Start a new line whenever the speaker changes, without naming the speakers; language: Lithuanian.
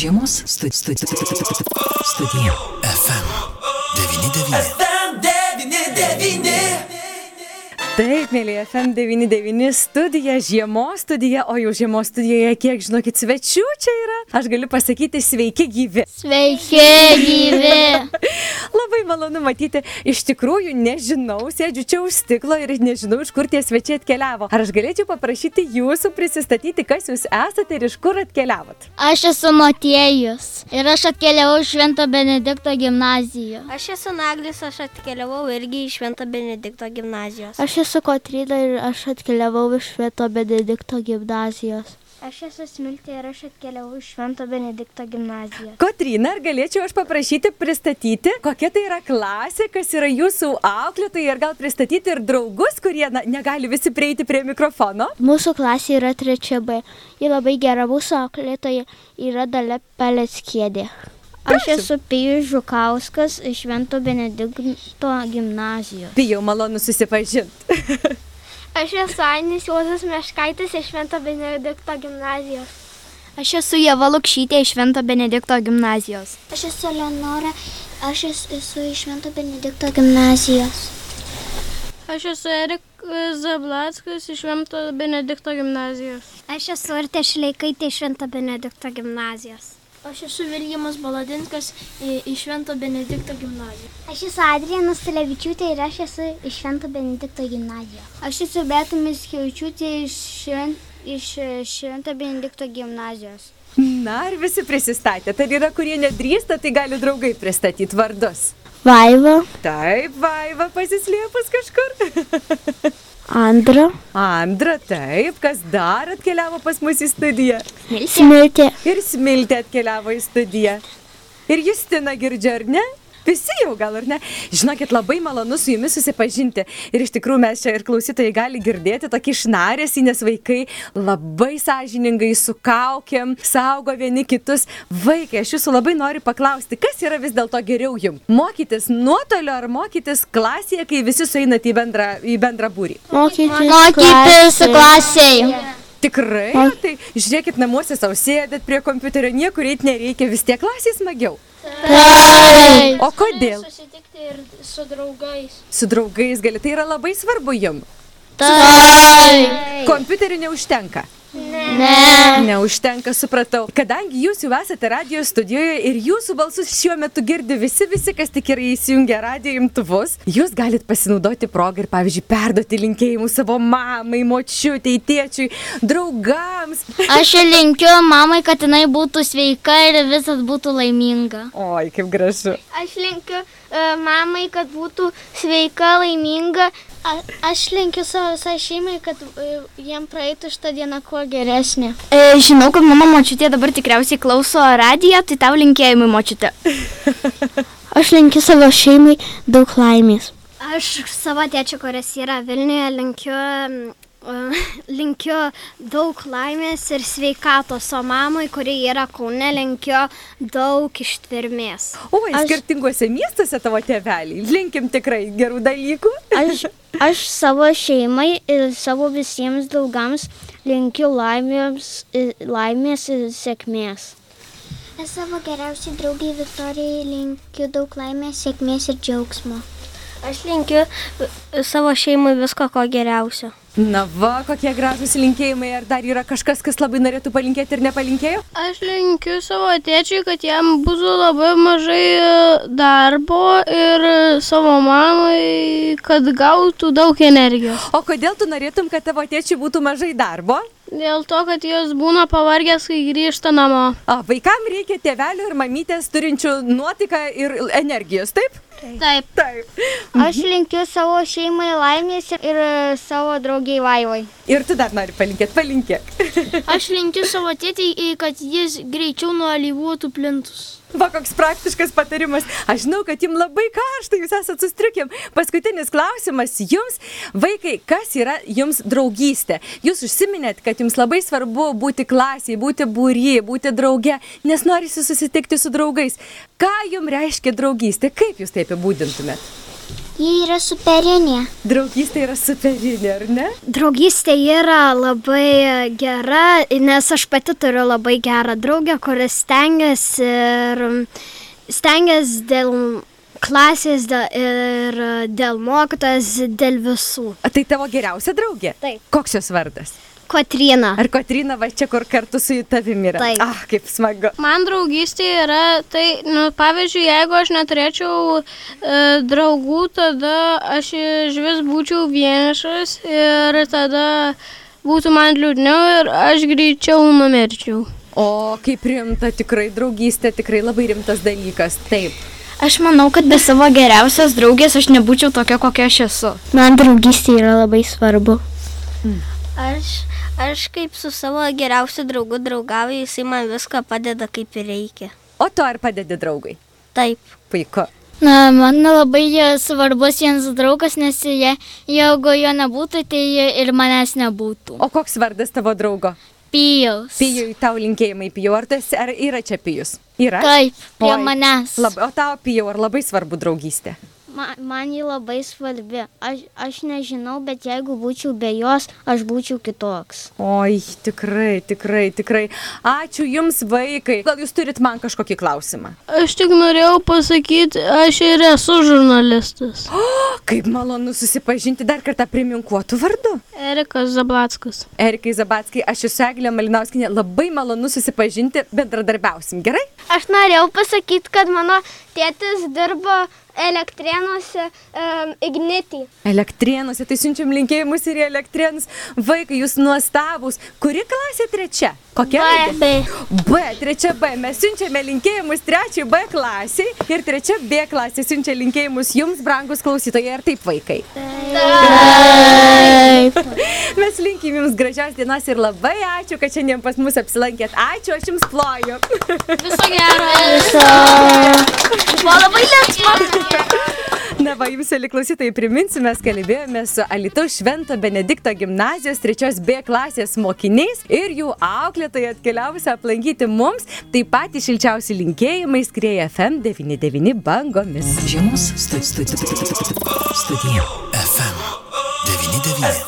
Žiemos stu- stu- stu- stu- stu- stu- studija.
FM 99.
Taip, mėly FM99 studija, žiemos studija, o jau žiemos studijoje, kiek žinokit, svečių čia yra. Aš galiu pasakyti, sveiki gyvi.
Sveiki, gyvi.
Labai malonu matyti, iš tikrųjų nežinau, sėdžiu čia už stiklo ir nežinau, iš kur tie svečiai atkeliavo. Ar aš galėčiau paprašyti jūsų prisistatyti, kas jūs esate ir iš kur atkeliavot?
Aš esu Matėjus ir aš atkeliavau iš Švento Benedikto gimnazijų.
Aš esu Naglis, aš atkeliavau irgi iš Švento Benedikto gimnazijos.
Aš esu Kotryda ir aš atkeliavau iš Švento Benedikto gimnazijos. Aš esu Smiltė ir aš atkeliavau iš Švento Benedikto gimnazijos.
Kotrina, ar galėčiau aš paprašyti pristatyti, kokia tai yra klasė, kas yra jūsų auklėtojai ir gal pristatyti ir draugus, kurie na, negali visi prieiti prie mikrofono?
Mūsų klasė yra 3B. Ji labai gera mūsų auklėtoja yra Dale Peleckėdė. Aš esu Pijus Žukauskas iš Švento Benedikto gimnazijos.
Bijau malonu susipažinti.
Aš esu Ainis Juozas Meškaitis iš Švento Benedikto gimnazijos.
Aš esu Jeva Lukšytė iš Vento Benedikto gimnazijos.
Aš esu Leonora, aš esu iš Švento Benedikto gimnazijos.
Aš esu Erikas Zablatskas iš Švento Benedikto gimnazijos.
Aš esu Artė Šleikaitė iš Švento Benedikto gimnazijos.
Aš esu Viljamas Baladinskas iš Švento Benedikto gimnazijos.
Aš esu Adrianas Televičiūtė ir aš esu iš Švento Benedikto gimnazijos. Aš esu Betomis Kiaučiūtė iš, šven... iš e, Švento Benedikto gimnazijos.
Na ir visi prisistatė. Tai yra, kurie nedrįsta, tai gali draugai pristatyti vardus.
Vaiva,
Taip, vaiva pasislėpus kažkur.
Andra,
Andra, taip, kas dar atkeliavo pas mus į studiją.
Smiltė.
Ir Smiltė atkeliavo į studiją. Ir Justina girdžia, ar ne? Visi jau gal ar ne? Žinokit, labai malonu su jumis susipažinti. Ir iš tikrųjų mes čia ir klausytojai gali girdėti tokį šnarėsi, nes vaikai labai sąžiningai sukaukiam, saugo vieni kitus. Vaikai, aš jūsų labai noriu paklausti, kas yra vis dėlto geriau jums? Mokytis nuotoliu ar mokytis klasėje, kai visi sueinate į bendrą, į bendrą būrį?
Mokytis,
Mokytis
klasėje.
Tikrai, Na, tai žiūrėkit, namuose savo sėdėt prie kompiuterio, niekur eiti nereikia, vis tiek klasėje smagiau. Taip. O kodėl?
Susitikti ir su draugais.
Su draugais gali, tai yra labai svarbu jum. Taip. Kompiuterių neužtenka. Ne. Neužtenka, supratau. Kadangi jūs jau esate radio studijoje ir jūsų balsus šiuo metu girdi visi, visi, kas tik yra įsijungę radio imtuvus, jūs galite pasinaudoti progą ir, pavyzdžiui, perduoti linkėjimus savo mamai, močiutei, tėčiui, draugams.
Aš linkiu mamai, kad jinai būtų sveika ir visas būtų laiminga.
Oi, kaip gražu.
Aš linkiu e, mamai, kad būtų sveika, laiminga. A, aš linkiu savo visai šeimai, kad e, jiem praeitų šitą dieną kuo geresnė.
E, žinau, kad mano močiutė dabar tikriausiai klauso radiją, tai tau linkėjimai močiutė.
Aš linkiu savo šeimai daug laimės.
Aš savo tėčiu, kuris yra Vilniuje, linkiu, mm, linkiu daug laimės ir sveikatos, o mamai, kuri yra Kaune, linkiu daug ištvermės.
O, aš... skirtinguose miestuose tavo tėveliai. Linkim tikrai gerų dalykų.
Aš, aš savo šeimai ir savo visiems draugams linkiu laimės, laimės ir sėkmės. Aš savo geriausiai draugiai Viktorijai linkiu daug laimės, sėkmės ir džiaugsmo.
Aš linkiu savo šeimai visko ko geriausio.
Na va, kokie gražūs linkėjimai. Ar dar yra kažkas, kas labai norėtų palinkėti ir nepalinkėjo?
Aš linkiu savo tėčiui, kad jam būtų labai mažai e, darbo ir e, savo mamai, kad gautų daug energijos.
O kodėl tu norėtum, kad tavo tėčiui būtų mažai darbo?
Dėl to, kad jos būna pavargęs, kai grįžta namo.
O vaikam reikia tėvelių ir mamytės turinčių nuotaiką ir energijos, taip?
Taip.
Taip.
Aš linkiu savo šeimai laimės ir savo draugiai Vaivai.
Ir tu dar nori palinkėti, palinkėk.
Aš linkiu savo tėtį, kad jis greičiau nualyvuotų plintus.
Va, koks praktiškas patarimas. Aš žinau, kad jums labai karšta, jūs esate sustrikiam. Paskutinis klausimas jums, vaikai, kas yra jums draugystė? Jūs užsiminėt, kad jums labai svarbu būti klasiai, būti būry, būti drauge, nes norisi susitikti su draugais. Ką jums reiškia draugystė? Kaip jūs tai apibūdintumėt?
Ji yra superinė.
Draugystė yra superinė, ar ne?
Draugystė yra labai gera, nes aš pati turiu labai gerą draugę, kuris stengiasi ir stengiasi dėl klasės dėl, ir dėl mokytojas, dėl visų.
A, tai tavo geriausia draugė?
Taip.
Koks jos vardas?
Kotrina.
Ar Kotrina va čia kur kartu su tavimi yra?
Taip.
Ah, kaip smagu.
Man draugystė yra, tai, nu, pavyzdžiui, jeigu aš neturėčiau e, draugų, tada aš iš vis būčiau vienišas ir tada būtų man liūdniau ir aš greičiau numirčiau.
O kaip rimta, tikrai draugystė, tikrai labai rimtas dalykas. Taip.
Aš manau, kad be savo geriausios draugės aš nebūčiau tokia, kokia aš esu.
Man draugystė yra labai svarbu.
Aš, aš kaip su savo geriausiu draugu draugauju, jisai man viską padeda kaip ir reikia.
O tu ar padedi draugui?
Taip.
Puiku.
Na, man labai e, svarbus vienas draugas, nes je, jeigu jo nebūtų, tai ir manęs nebūtų.
O koks vardas tavo draugo?
Pijaus.
Pijui tau linkėjimai, pijau. Ar, tu esi, ar yra čia pijus? Yra.
Taip, prie
Oi,
manęs.
Labai, o tau pijau, ar labai svarbu draugystė?
Man, man ji labai svarbi. Aš, aš nežinau, bet jeigu būčiau be jos, aš būčiau kitoks.
Oi, tikrai, tikrai, tikrai. Ačiū Jums, vaikai. Gal Jūs turit man kažkokį klausimą?
Aš tik norėjau pasakyti, aš ir esu žurnalistas.
O, kaip malonu susipažinti dar kartą priminkuotų vardu.
Erikas Zablatskas.
Erikai Zabatskai, aš esu Eglė Malinauskinė, labai malonu susipažinti, bendradarbiausim, gerai?
Aš norėjau pasakyti, kad mano tėtis dirbo elektrienuose um, ignitį.
Elektrienuose, tai siunčiam linkėjimus ir į elektrienus. Vaikai, jūs nuostabūs. Kuri klasė trečia? Kokia? raidė?
B.
B, trečia B. Mes siunčiame linkėjimus trečiai B klasiai ir trečia B klasė siunčia linkėjimus jums, brangus klausytojai, ar taip vaikai? Taip. Mes linkim jums gražios dienos ir labai ačiū, kad šiandien pas mus apsilankėt. Ačiū, aš jums ploju.
Viso gero.
Na, va, jums, eli klausytojai, priminsiu, mes kalbėjome su Alitaus Švento Benedikto gimnazijos 3B klasės mokiniais ir jų auklėtojai atkeliavusi aplankyti mums, taip pat šilčiausi linkėjimai skrieja FM99 bangomis.
Žiemos stu- stu- stu- stu- stu- studija.
FM 99.